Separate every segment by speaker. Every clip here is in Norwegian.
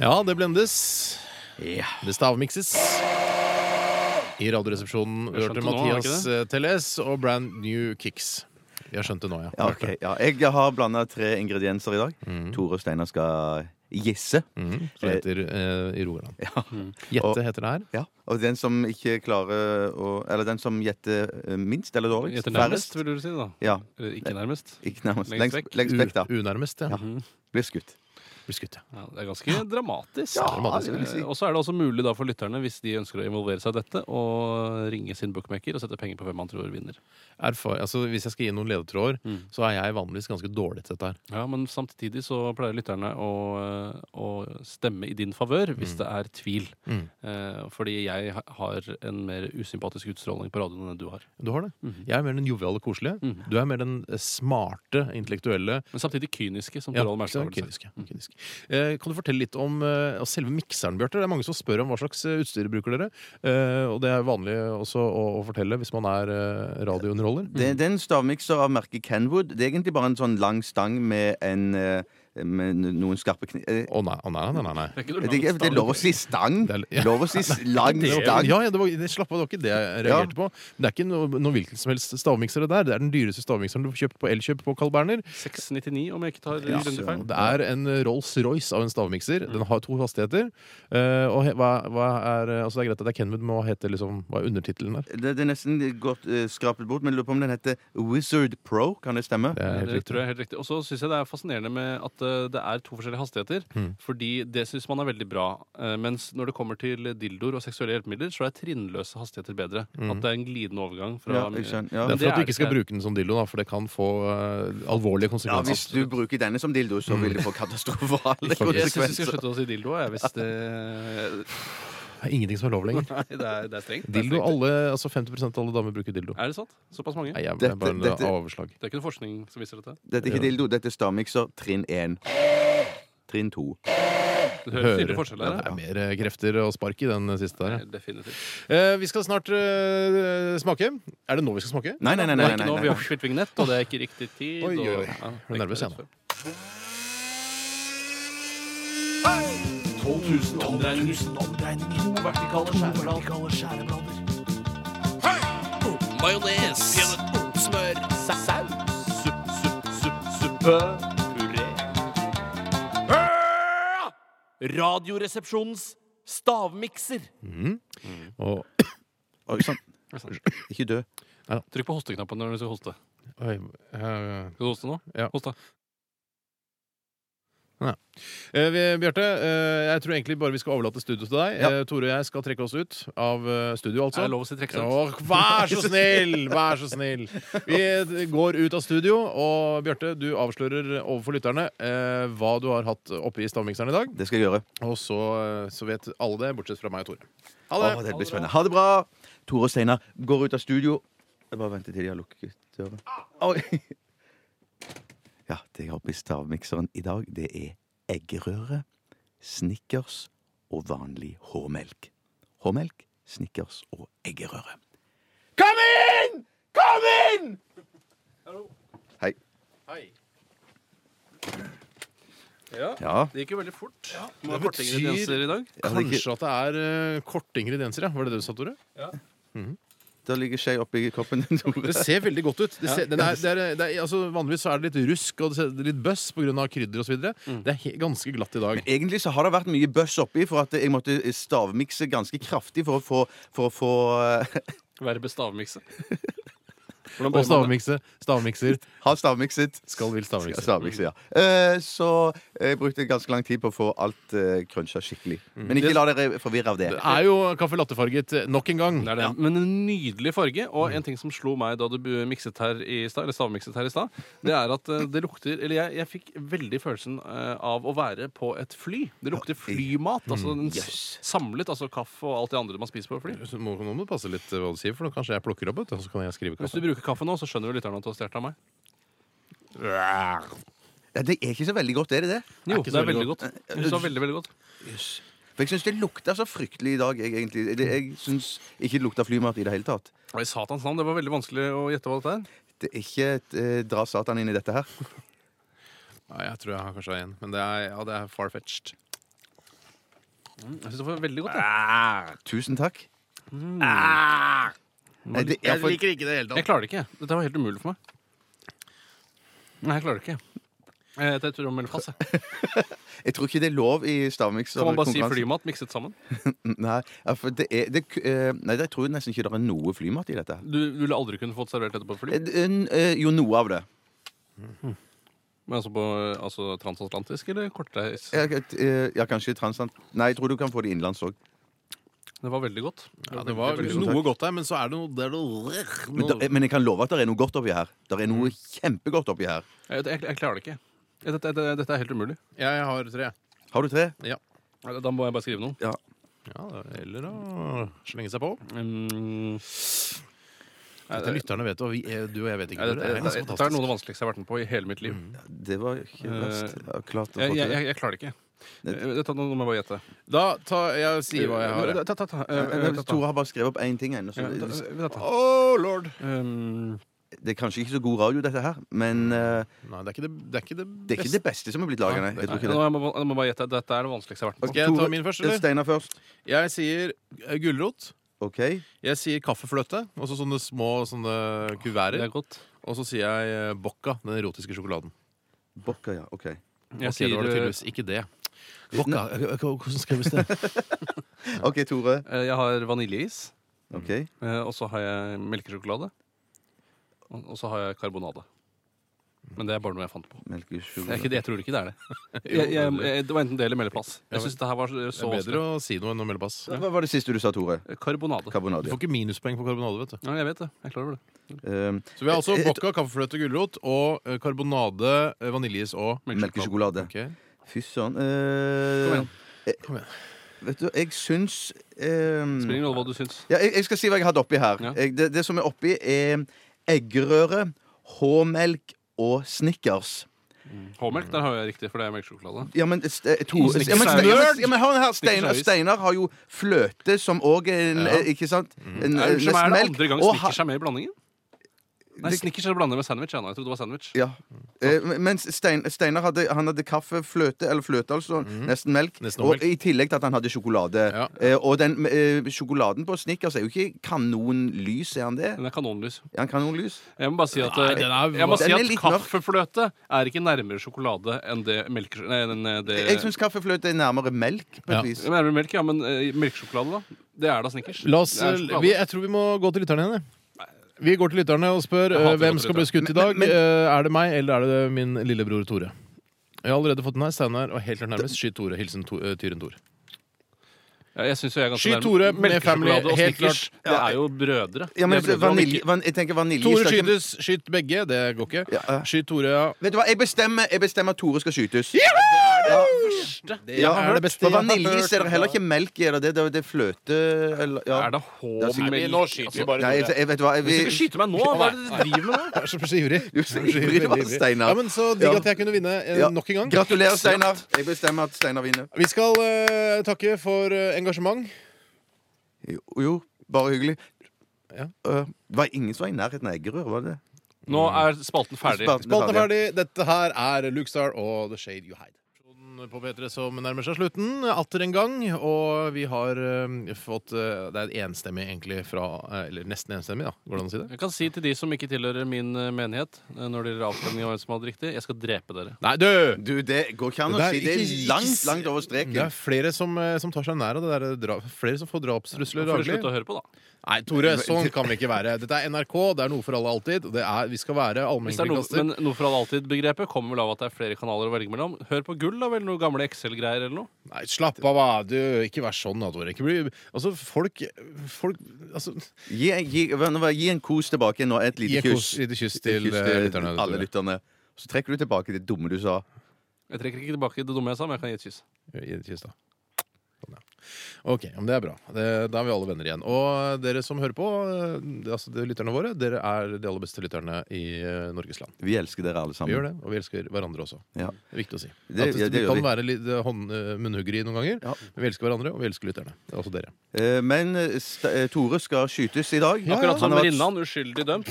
Speaker 1: Ja, det blendes.
Speaker 2: Ja.
Speaker 1: Det stavmikses. I Radioresepsjonen
Speaker 3: Vi har
Speaker 1: hørte
Speaker 3: skjønt det nå, har vi
Speaker 1: Mathias eh, Tellez og Brand New Kicks. Vi har skjønt det nå, ja.
Speaker 2: Ja, ok. ja. Jeg har blanda tre ingredienser i dag. Tore og Steinar skal gjesse.
Speaker 1: Mhm, som det heter eh, i Rogaland. Jette
Speaker 2: Og-
Speaker 1: heter det her.
Speaker 2: Ja. Og den som ikke klarer å Eller den som gjetter eh, minst eller dårligst.
Speaker 3: Etter nærmest,
Speaker 2: færrest.
Speaker 3: vil du si. da
Speaker 2: Ja.
Speaker 3: Eller ikke nærmest.
Speaker 2: Ikke nærmest.
Speaker 3: Lengst
Speaker 2: Lengst,
Speaker 3: vekk.
Speaker 2: lengst vekk, da.
Speaker 1: U unærmest, ja.
Speaker 2: Blir skutt.
Speaker 1: Blir skutt, ja.
Speaker 3: Ja, det er ganske dramatisk.
Speaker 2: Ja,
Speaker 1: dramatisk.
Speaker 2: det vil jeg si.
Speaker 3: Eh, Og så er det også mulig da for lytterne, hvis de ønsker å involvere seg i dette, å ringe sin bookmaker og sette penger på hvem man tror vinner.
Speaker 1: Erfar altså, hvis jeg skal gi noen ledetråder,
Speaker 3: Mm.
Speaker 1: så er jeg vanligvis ganske dårlig til dette her.
Speaker 3: Ja, Men samtidig så pleier lytterne å, eh, å stemme i din favør hvis det er tvil.
Speaker 1: Mm.
Speaker 3: Eh, Fordi jeg ha- har en mer usympatisk utstråling på radioen enn du har.
Speaker 1: Du har det.
Speaker 3: Mm.
Speaker 1: Jeg er mer den joviale, koselige.
Speaker 3: Mhm.
Speaker 1: Du er mer den eh, smarte, intellektuelle.
Speaker 3: Men samtidig kyniske, som
Speaker 1: Ja,
Speaker 3: Torald Maurstad
Speaker 1: så
Speaker 3: ville sagt.
Speaker 1: kynisk, ja, kynisk. Eh, Kan du fortelle litt om eh, altså selve mikseren, Bjarte? Det er mange som spør om hva slags eh, utstyr bruker dere. Eh, Og det er vanlig også å, å fortelle hvis man er eh, radiounderholder.
Speaker 2: Det, det er en stavmikser av merket Kenwood. Det er egentlig bare en sånn lang stang med, en, eh, med noen skarpe kni... eh,
Speaker 1: Å nei, å nei, nei, nei, nei.
Speaker 3: Det er ikke noe
Speaker 2: Det, er ikke-
Speaker 3: langt
Speaker 2: det er lov å si stang.
Speaker 1: Det er- ja.
Speaker 2: Lov å si s- lang
Speaker 1: Det var,
Speaker 2: stang.
Speaker 1: ja, ja, det var, det, slapp av, det var ikke det jeg reagerte på. Det er ikke noe, noe hvilken som helst stavmikser. Det der Det er den dyreste stavmikseren du får kjøpt på Elkjøp på Carl Berner.
Speaker 3: 6,99 om jeg ikke tar
Speaker 2: Ja,
Speaker 3: en runde feil.
Speaker 2: søren.
Speaker 1: Det er en Rolls-Royce av en stavmikser. Den har to hastigheter. Eh, og he, hva, hva er Altså Det er greit at det er Kenwood, men hva heter liksom Hva er undertittelen der?
Speaker 2: Det, det er nesten godt eh, skrapet bort, men lurer på om den heter Wizard Pro. Kan det stemme?
Speaker 1: Det er helt
Speaker 3: Det
Speaker 1: riktig.
Speaker 3: tror jeg er helt riktig. Og så syns jeg det er fascinerende med at eh, det er to forskjellige hastigheter.
Speaker 1: Mm.
Speaker 3: Fordi det syns man er veldig bra. Eh, Mens når det kommer til dildoer og seksuelle hjelpemidler, så er trinnløse hastigheter bedre.
Speaker 1: Mm.
Speaker 3: At det er en glidende overgang fra
Speaker 2: Ja, jeg skjønner. Ja.
Speaker 1: Det er
Speaker 3: Men
Speaker 1: for at du
Speaker 3: det
Speaker 1: ikke skal
Speaker 3: ikke.
Speaker 1: bruke den som dildo, da, for det kan få eh, alvorlige
Speaker 2: Ja,
Speaker 1: konsekvenser.
Speaker 2: Hvis du bruker denne som dildo, så vil det få katastrofale
Speaker 3: Mm. Jeg syns vi skal
Speaker 2: konsekvenser.
Speaker 3: slutte å si dildo, jeg, hvis det
Speaker 1: Det er ingenting som er lov lenger.
Speaker 3: Nei, det er, det er strengt. Det er,
Speaker 1: Dildo,
Speaker 3: strengt.
Speaker 1: alle, altså 50 av alle damer bruker dildo.
Speaker 3: er det sant? Såpass mange?
Speaker 1: Nei, jeg, det
Speaker 2: Dette-
Speaker 1: er bare en eh,
Speaker 2: dette-
Speaker 1: avslag.
Speaker 3: Det er ikke noe forskning som viser dette?
Speaker 2: Dette er ikke dildo, dette er stavmikser trinn 1. Trinn 2.
Speaker 3: Du hører tydelig forskjell
Speaker 1: Ja,
Speaker 3: der?
Speaker 1: det er
Speaker 3: ja.
Speaker 1: mer eh, krefter og spark i den eh, siste der. ja.
Speaker 3: Nei, Definitivt.
Speaker 1: Eh, vi skal snart eh, smake. Er det nå vi skal smake?
Speaker 2: Nei, nei, nei.
Speaker 3: Det
Speaker 2: nei,
Speaker 3: er ikke
Speaker 2: nei,
Speaker 3: nå vi
Speaker 2: nei,
Speaker 3: har spilt vignett, og det er ikke riktig tid.
Speaker 1: Oi, oi, oi.
Speaker 3: og- Ja, det
Speaker 1: Jeg er nervøs,
Speaker 3: ikke
Speaker 1: jeg
Speaker 3: rett
Speaker 1: nå.
Speaker 3: før. 12 000 omdreininger. To vertikale skjæreblader. Majones. Smør. Saus. Supp, supp, supp, suppe. Puré. Radioresepsjonens stavmikser.
Speaker 1: Mm. Og,
Speaker 2: Oi sann. Ikke dø.
Speaker 3: Trykk på hosteknappen når du skal hoste.
Speaker 1: oi, eh,
Speaker 3: Skal du hoste nå?
Speaker 1: Ja.
Speaker 3: Host, da.
Speaker 1: Eh, vi- Bjarte, eh, jeg tror egentlig bare vi skal overlate studio til deg.
Speaker 2: Ja.
Speaker 1: Eh, Tore og jeg skal trekke oss ut av eh, studio, altså.
Speaker 3: Er det lov å si trekke seg ut?
Speaker 1: Åh, vær så snill! Vær så snill. Vi går ut av studio, og Bjarte, du avslører overfor lytterne eh, hva du har hatt oppe i stavmikseren i dag.
Speaker 2: Det skal jeg gjøre.
Speaker 1: Og så, eh, så vet alle det, bortsett fra meg og Tore. Ha
Speaker 2: Å,
Speaker 1: det!
Speaker 2: det blir spennende. Ha det bra! Tore og Steinar går ut av studio. Jeg bare venter til de har lukket døren.
Speaker 1: Ah.
Speaker 2: Oi. Ja, det jeg har oppi stavmikseren i dag, det er eggerøre, snickers og vanlig H-melk. H-melk, snickers og eggerøre. Kom inn! Kom inn! Hei.
Speaker 3: Ja.
Speaker 2: Ja.
Speaker 3: Det gikk jo veldig fort. Ja.
Speaker 1: Det betyr-
Speaker 3: i dag.
Speaker 2: Ja, det, ligger,
Speaker 1: Kanskje at det er eh, korte ingredienser, ja. Var det det du sa, Tore?
Speaker 2: det ligger skje oppi koppen din, Tore.
Speaker 1: Det ser veldig godt ut. Det ser, den er, det er, det er, altså, vanligvis så er det litt rusk og det ser litt bøss pga. krydder osv. videre
Speaker 2: Mm.
Speaker 1: Det er he ganske glatt i dag.
Speaker 2: Egentlig så har det vært mye bøss oppi, for at jeg måtte stavmikse ganske kraftig for å få, for å få eh,
Speaker 3: Verbet stavmikse. Hvordan
Speaker 1: Og
Speaker 3: bør man det?
Speaker 1: stavmikse, stavmikser
Speaker 2: ha stavmikset.
Speaker 1: skal vil stavmikse.
Speaker 2: Stavmikse, ja.
Speaker 3: Mm.
Speaker 2: Eh, så jeg brukte ganske lang tid på å få alt uh, crunsja skikkelig.
Speaker 3: Mm.
Speaker 2: Men ikke la dere forvirre av det.
Speaker 1: Det er jo kaffe lattefarget nok en gang.
Speaker 3: Det er det. Men en nydelig farge. Og
Speaker 1: Mm.
Speaker 3: en ting som slo meg da du bu- mikset her i stad, eller stavmikset her i stad, det er at eh, det lukter Eller jeg, jeg fikk veldig følelsen eh, av å være på et fly. Det lukter flymat.
Speaker 1: Mm.
Speaker 3: Altså den s-
Speaker 2: Yes.
Speaker 3: samlet, altså kaffe og alt det andre man spiser på et fly.
Speaker 1: Så må, nå må du passe litt eh, hva du sier, for nå kanskje jeg plukker opp, vet du, og så kan jeg skrive
Speaker 3: Hvis du
Speaker 1: kaffe.
Speaker 3: bruker kaffe nå, så skjønner jo lytterne at du har stjålet av meg.
Speaker 2: Ja, det er ikke så veldig godt, er det det?
Speaker 3: Jo,
Speaker 1: ikke
Speaker 3: det
Speaker 1: så
Speaker 3: er
Speaker 1: veldig
Speaker 3: veldig godt. Jeg synes det var veldig, veldig godt.
Speaker 2: For jeg syns det lukta så fryktelig i dag, jeg, egentlig. Det, jeg syns ikke det lukta flymat i det hele tatt.
Speaker 3: Og I satans navn, det var veldig vanskelig å gjette hva dette er.
Speaker 2: Det er ikke et, eh, dra Satan inn i dette her.
Speaker 1: Ja, jeg tror jeg har kanskje en, men det er, ja, det er far-fetched.
Speaker 3: Jeg synes det var veldig godt. Jeg,
Speaker 2: Ah, tusen takk. Nei, det- ja, for-
Speaker 1: ikke det i det hele
Speaker 3: jeg klarer det ikke. Dette var helt umulig for meg. Nei, jeg klarer det ikke. Eh, Det tror jeg må melde pass. jeg.
Speaker 2: Jeg tror ikke det er lov i stavmikser.
Speaker 3: Kan man bare si flymat mikset sammen?
Speaker 2: Nei, ja, for det er, det, eh, nei, jeg tror nesten ikke det er noe flymat i dette.
Speaker 3: Du du ville aldri kunne fått servert dette på et fly?
Speaker 2: Eh, n- eh, Jo, noe av det.
Speaker 3: Men altså, på, altså transatlantisk eller kortreis?
Speaker 2: Ja, eh, ja kanskje transant... Nei, jeg tror du kan få det innenlands òg.
Speaker 3: Det var veldig godt.
Speaker 1: Ja, det var
Speaker 3: veldig,
Speaker 2: godt.
Speaker 1: noe godt der, men så er det noe, det er noe,
Speaker 2: Men, der- men jeg kan love at det er noe godt oppi her. Det er noe kjempegodt oppi her.
Speaker 3: godt. Jeg, jeg, jeg klarer det ikke. Eh, Dette, dette, dette er helt umulig. Eh,
Speaker 1: Ja, jeg har tre.
Speaker 2: Har du tre?
Speaker 3: Da må jeg bare skrive noe.
Speaker 2: Ja.
Speaker 1: Ja, det er- Eller å slenge seg på.
Speaker 3: Mm,
Speaker 1: Dette lytterne vet, og vi, eh, du og jeg vet ikke.
Speaker 3: Nei,
Speaker 1: det,
Speaker 3: dette,
Speaker 1: er
Speaker 3: dette,
Speaker 1: ganske
Speaker 3: dette er noe av
Speaker 1: fantastisk. Mm,
Speaker 3: det vanskeligste jeg har vært med på i hele mitt liv.
Speaker 2: Det var ikke verst. Ja, klart å få
Speaker 3: Eh, Jeg,
Speaker 2: til
Speaker 3: jeg,
Speaker 2: det.
Speaker 3: jeg, jeg klarer det ikke.
Speaker 2: Nei.
Speaker 3: Eh, Dette, nå nå må jeg bare gjette.
Speaker 1: Da tar jeg sier hva jeg har. jeg.
Speaker 3: Ta, ta, ta. Eh,
Speaker 2: Eh,
Speaker 3: eh,
Speaker 2: eh,
Speaker 3: ta, ta.
Speaker 2: Tore har bare skrevet opp én ting ennå. så
Speaker 3: Ja,
Speaker 2: det-
Speaker 3: ta,
Speaker 2: det-
Speaker 3: ta, ta.
Speaker 1: Oh, lord!
Speaker 3: Um,
Speaker 2: Det er kanskje ikke så god radio, dette her, men
Speaker 3: Mm.
Speaker 2: eh,
Speaker 1: Nei, det er ikke det, det, er ikke det
Speaker 2: det er ikke
Speaker 1: beste.
Speaker 2: det beste som er blitt laga, nei. Jeg
Speaker 3: Nei,
Speaker 2: tror ikke
Speaker 3: nå
Speaker 2: det. Eh,
Speaker 3: må jeg bare- nå må jeg bare gjette. Dette er det vanskeligste jeg har vært med på.
Speaker 1: Skal jeg ta min først, eller?
Speaker 2: Steinar først.
Speaker 1: Jeg sier eh, gulrot.
Speaker 2: OK.
Speaker 1: Jeg sier kaffefløte. Og så sånne små sånne
Speaker 3: Det
Speaker 1: kuverter.
Speaker 3: er godt.
Speaker 1: Og så sier jeg eh, bocca, den erotiske sjokoladen.
Speaker 2: Bocca, ja. OK.
Speaker 3: Jeg
Speaker 1: Ok, da var det
Speaker 3: sier, eh,
Speaker 1: tydeligvis ikke det. Bocca, eh, hvordan skrives det?
Speaker 2: OK, Tore.
Speaker 3: eh, jeg har vaniljeis,
Speaker 2: OK.
Speaker 3: eh, og så har jeg melkesjokolade. Og og så har jeg karbonade. Men det er bare noe jeg fant på. Det er ikke,
Speaker 2: Melkesjokolade.
Speaker 3: det- jeg tror ikke det er det. Jeg, jeg, jeg, det var enten det eller meldeplass. Jeg syns det her var så
Speaker 1: Det er bedre
Speaker 3: vanskelig.
Speaker 1: å si noe enn å melde pass.
Speaker 2: Hva var det siste du sa, Tore?
Speaker 3: Karbonade.
Speaker 1: Du
Speaker 2: Karbonade. ja.
Speaker 1: får ikke minuspoeng på karbonade, vet du.
Speaker 3: Ja, jeg vet det. Jeg er klar over det.
Speaker 2: Eh,
Speaker 1: Så vi har altså
Speaker 2: Et- et-
Speaker 1: bocca, kaffefløte, gulrot og eh, karbonade, eh, vaniljeis og
Speaker 2: Melkesjokolade.
Speaker 1: Ok.
Speaker 2: Fy søren. eh,
Speaker 3: Kom igjen.
Speaker 2: eh,
Speaker 1: Kom igjen.
Speaker 2: Vet du, jeg syns eh,
Speaker 3: Spiller ingen rolle hva du syns.
Speaker 2: ja, jeg, jeg skal si hva jeg hadde oppi her.
Speaker 3: Ja.
Speaker 2: Jeg, det, det som er oppi, er eggerøre, H-melk og Snickers.
Speaker 3: H-melk, der har jeg riktig, for det er melkesjokolade.
Speaker 2: Ja, men, Ste- to, ja, men,
Speaker 3: Snickers er
Speaker 2: Ste-
Speaker 3: jo-
Speaker 2: ja, men, ja, men hør her, Steinar,
Speaker 3: Snickers er jo-
Speaker 2: Steinar har jo fløte, som òg er en,
Speaker 1: Ja.
Speaker 2: eh, Ikke sant? En,
Speaker 3: Er
Speaker 2: eh,
Speaker 3: Mm. det
Speaker 2: nesten melk,
Speaker 3: andre gang
Speaker 2: og
Speaker 3: Snickers er med i blandingen? Nei,
Speaker 2: Det-
Speaker 3: Snickers er blandet med sandwich. Ja, nå. jeg trodde det var sandwich.
Speaker 2: ha- Ja. Eh, mens Stein, Steinar hadde, han hadde kaffe, fløte, eller fløte altså, nesten melk.
Speaker 1: Mhm. Nesten
Speaker 2: og
Speaker 1: melk.
Speaker 2: i tillegg til at han hadde sjokolade.
Speaker 1: Ja.
Speaker 2: Eh, og den eh, sjokoladen på Snickers er jo ikke kanonlys, er han det?
Speaker 3: Den er kanonlys.
Speaker 2: Er han kanonlys?
Speaker 3: Jeg må bare si at, eh,
Speaker 1: Nei, den er-
Speaker 3: jeg må si
Speaker 2: Den er
Speaker 3: at
Speaker 2: litt mørk.
Speaker 3: kaffefløte er ikke nærmere sjokolade enn det melkesj- Nei, den, eh, det
Speaker 2: Jeg syns kaffefløte er nærmere melk, på et
Speaker 1: Ja.
Speaker 2: vis.
Speaker 3: Nærmere melk, ja, men eh, melkesjokolade, da? Det er da Snickers.
Speaker 1: La oss, eh,
Speaker 3: Det er sjokolade.
Speaker 1: vi, jeg tror vi må gå til lytterne igjen. jeg. Vi går til lytterne og spør
Speaker 3: Jeg hater
Speaker 1: eh, hvem
Speaker 3: å gå til
Speaker 1: skal bli skutt i dag.
Speaker 2: Men- men-
Speaker 1: Eh, er det meg eller er det min lillebror Tore? Jeg har allerede fått den her. Steinar og helt klart nærmest. Skyt Tore. Hilsen to, eh, Tyren Tor.
Speaker 3: Ja, jeg synes jo jeg er ganske
Speaker 1: Skyt
Speaker 3: nærme.
Speaker 1: Tore med
Speaker 3: Melkesjokolade
Speaker 1: Family,
Speaker 3: og
Speaker 1: helt
Speaker 3: Snickers,
Speaker 1: klart.
Speaker 3: Det er jo brødre.
Speaker 2: Ja, men
Speaker 3: Det er brødre, og
Speaker 2: altså, vanilje,
Speaker 3: Mikke-
Speaker 2: van, jeg tenker vanilje
Speaker 1: Tore
Speaker 2: skal ikke-
Speaker 1: skytes. Skyt begge. Det går ikke.
Speaker 2: Ja, ja.
Speaker 1: Skyt Tore, ja.
Speaker 2: Vet du hva, jeg bestemmer, jeg bestemmer at Tore skal skytes.
Speaker 1: Det
Speaker 2: Ja,
Speaker 1: er det beste
Speaker 2: For
Speaker 1: jeg har
Speaker 2: vaniljeis er det
Speaker 1: hørt.
Speaker 2: heller ikke melk i. er Det det, det, det er fløte eller, ja.
Speaker 3: Er det H-melk?
Speaker 4: Nå skyter vi bare
Speaker 2: Nei, jeg,
Speaker 4: Tore.
Speaker 2: jeg vet hva jeg,
Speaker 3: Du skal
Speaker 2: vil-
Speaker 3: ikke skyte meg nå! Hva er det du driver med nå?
Speaker 1: Jeg er så så ivrig.
Speaker 2: Du er så ivrig, altså. du,
Speaker 1: Veldig ivrig.
Speaker 2: Steinar.
Speaker 1: Ja, men Så digg
Speaker 2: Ja.
Speaker 1: at jeg kunne vinne eh,
Speaker 2: Ja.
Speaker 1: nok en gang.
Speaker 2: Gratulerer, Steinar. Jeg bestemmer at Steinar vinner.
Speaker 1: Vi skal eh, takke for eh, engasjement.
Speaker 2: Jo, jo bare hyggelig.
Speaker 1: Ja.
Speaker 2: Øh, var det ingen som var i nærheten av eggerør, var det det?
Speaker 3: Nå er spalten ferdig.
Speaker 2: Spalten
Speaker 1: Spalten er ferdig. Dette her er Luke Star og The Shade You Hide. På P3 som nærmer seg slutten atter en gang. Og vi har eh, fått eh, Det er enstemmig, egentlig, fra eh, Eller nesten enstemmig, da. Går det an å si det?
Speaker 3: Jeg kan si til de som ikke tilhører min eh, menighet, eh, når det gjelder avstemning og hvem som hadde riktig, jeg skal drepe dere.
Speaker 1: Nei, du!
Speaker 2: Du, det går ikke an å
Speaker 1: Det er
Speaker 2: si. Det er
Speaker 1: ikke- ikke-
Speaker 2: langt, langt over streken.
Speaker 1: Det er flere som, eh, som tar seg nær av det der dra Flere som får drapstrusler
Speaker 3: Får dere
Speaker 1: daglig.
Speaker 3: slutte å høre på, da.
Speaker 1: Nei, Tore, sånn kan vi ikke være. Dette er NRK, det er noe for alle alltid. og Det er, vi skal være
Speaker 3: Hvis det er noe,
Speaker 1: allmennkringkaster.
Speaker 3: men noe for alle alltid-begrepet kommer vel av at det er flere kanaler å velge mellom. Hør på gull, da vel. Noe gamle Excel-greier eller noe.
Speaker 1: Nei, slapp av, hva. du. Ikke vær sånn, da, Tore. Ikke bli Altså, folk, folk altså,
Speaker 2: Gi, gi, hva- hva- gi en kos tilbake nå. Et
Speaker 1: Gi
Speaker 2: lite
Speaker 1: et kos,
Speaker 2: kyss.
Speaker 1: lite kyss til
Speaker 2: Kyss
Speaker 1: eh, lytterne.
Speaker 2: alle
Speaker 1: Tore.
Speaker 2: lytterne. Så trekker du tilbake det dumme du sa.
Speaker 3: Jeg trekker ikke tilbake det dumme jeg sa, men jeg kan gi et kyss.
Speaker 1: Gi et kyss, da. Sånn, ja. OK, ja, men det er bra. Det, da er vi alle venner igjen. Og dere som hører på, eh, det, altså det, er lytterne våre, dere er de aller beste lytterne i eh, Norges land.
Speaker 2: Vi elsker dere alle sammen.
Speaker 1: Vi gjør det, og vi elsker hverandre også.
Speaker 2: Ja.
Speaker 1: Det er viktig å si.
Speaker 2: Det-
Speaker 1: At det,
Speaker 2: ja, det
Speaker 1: vi
Speaker 2: gjør
Speaker 1: kan
Speaker 2: vi.
Speaker 1: være litt eh, hånd, eh, munnhuggeri noen ganger,
Speaker 2: Ja.
Speaker 1: men vi elsker hverandre, og vi elsker lytterne. Det er også dere.
Speaker 2: Eh, Men eh, St- eh, Tore skal skytes i dag.
Speaker 3: Akkurat
Speaker 2: Han
Speaker 3: som
Speaker 2: har vært-
Speaker 3: Rinnan, uskyldig dømt.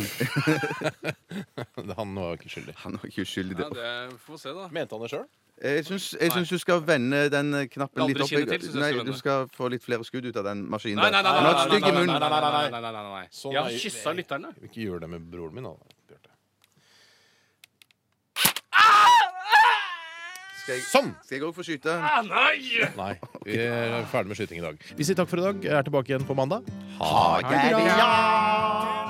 Speaker 1: Han var jo ikke skyldig.
Speaker 2: Han var ikke uskyldig.
Speaker 3: Ja, det får vi se, da.
Speaker 1: Mente han det sjøl?
Speaker 2: Jeg syns, jeg syns du skal vende den eh, knappen
Speaker 3: Det
Speaker 2: litt
Speaker 3: andre
Speaker 2: opp.
Speaker 3: kinnet til, syns jeg
Speaker 2: Nei, du
Speaker 3: skal vende.
Speaker 2: skal få litt flere skudd ut av den maskinen.
Speaker 3: Nei,
Speaker 2: der.
Speaker 3: nei, nei, nei,
Speaker 2: Han har et
Speaker 3: nei, nei,
Speaker 2: stygg i
Speaker 3: nei, nei, nei,
Speaker 2: munnen.
Speaker 3: nei, nei, nei, nei, nei.
Speaker 1: Sånn
Speaker 3: Jeg har
Speaker 1: er-
Speaker 3: kyssa lytterne.
Speaker 1: Ikke gjør det med broren min, da. Bjarte.
Speaker 2: Skal jeg-
Speaker 1: Sånn!
Speaker 2: skal jeg òg få skyte?
Speaker 3: Ah, nei!
Speaker 1: Nei, vi er ferdig med skyting i dag. Vi sier takk for i dag. Jeg er tilbake igjen på mandag.
Speaker 2: Ha det!
Speaker 1: det bra!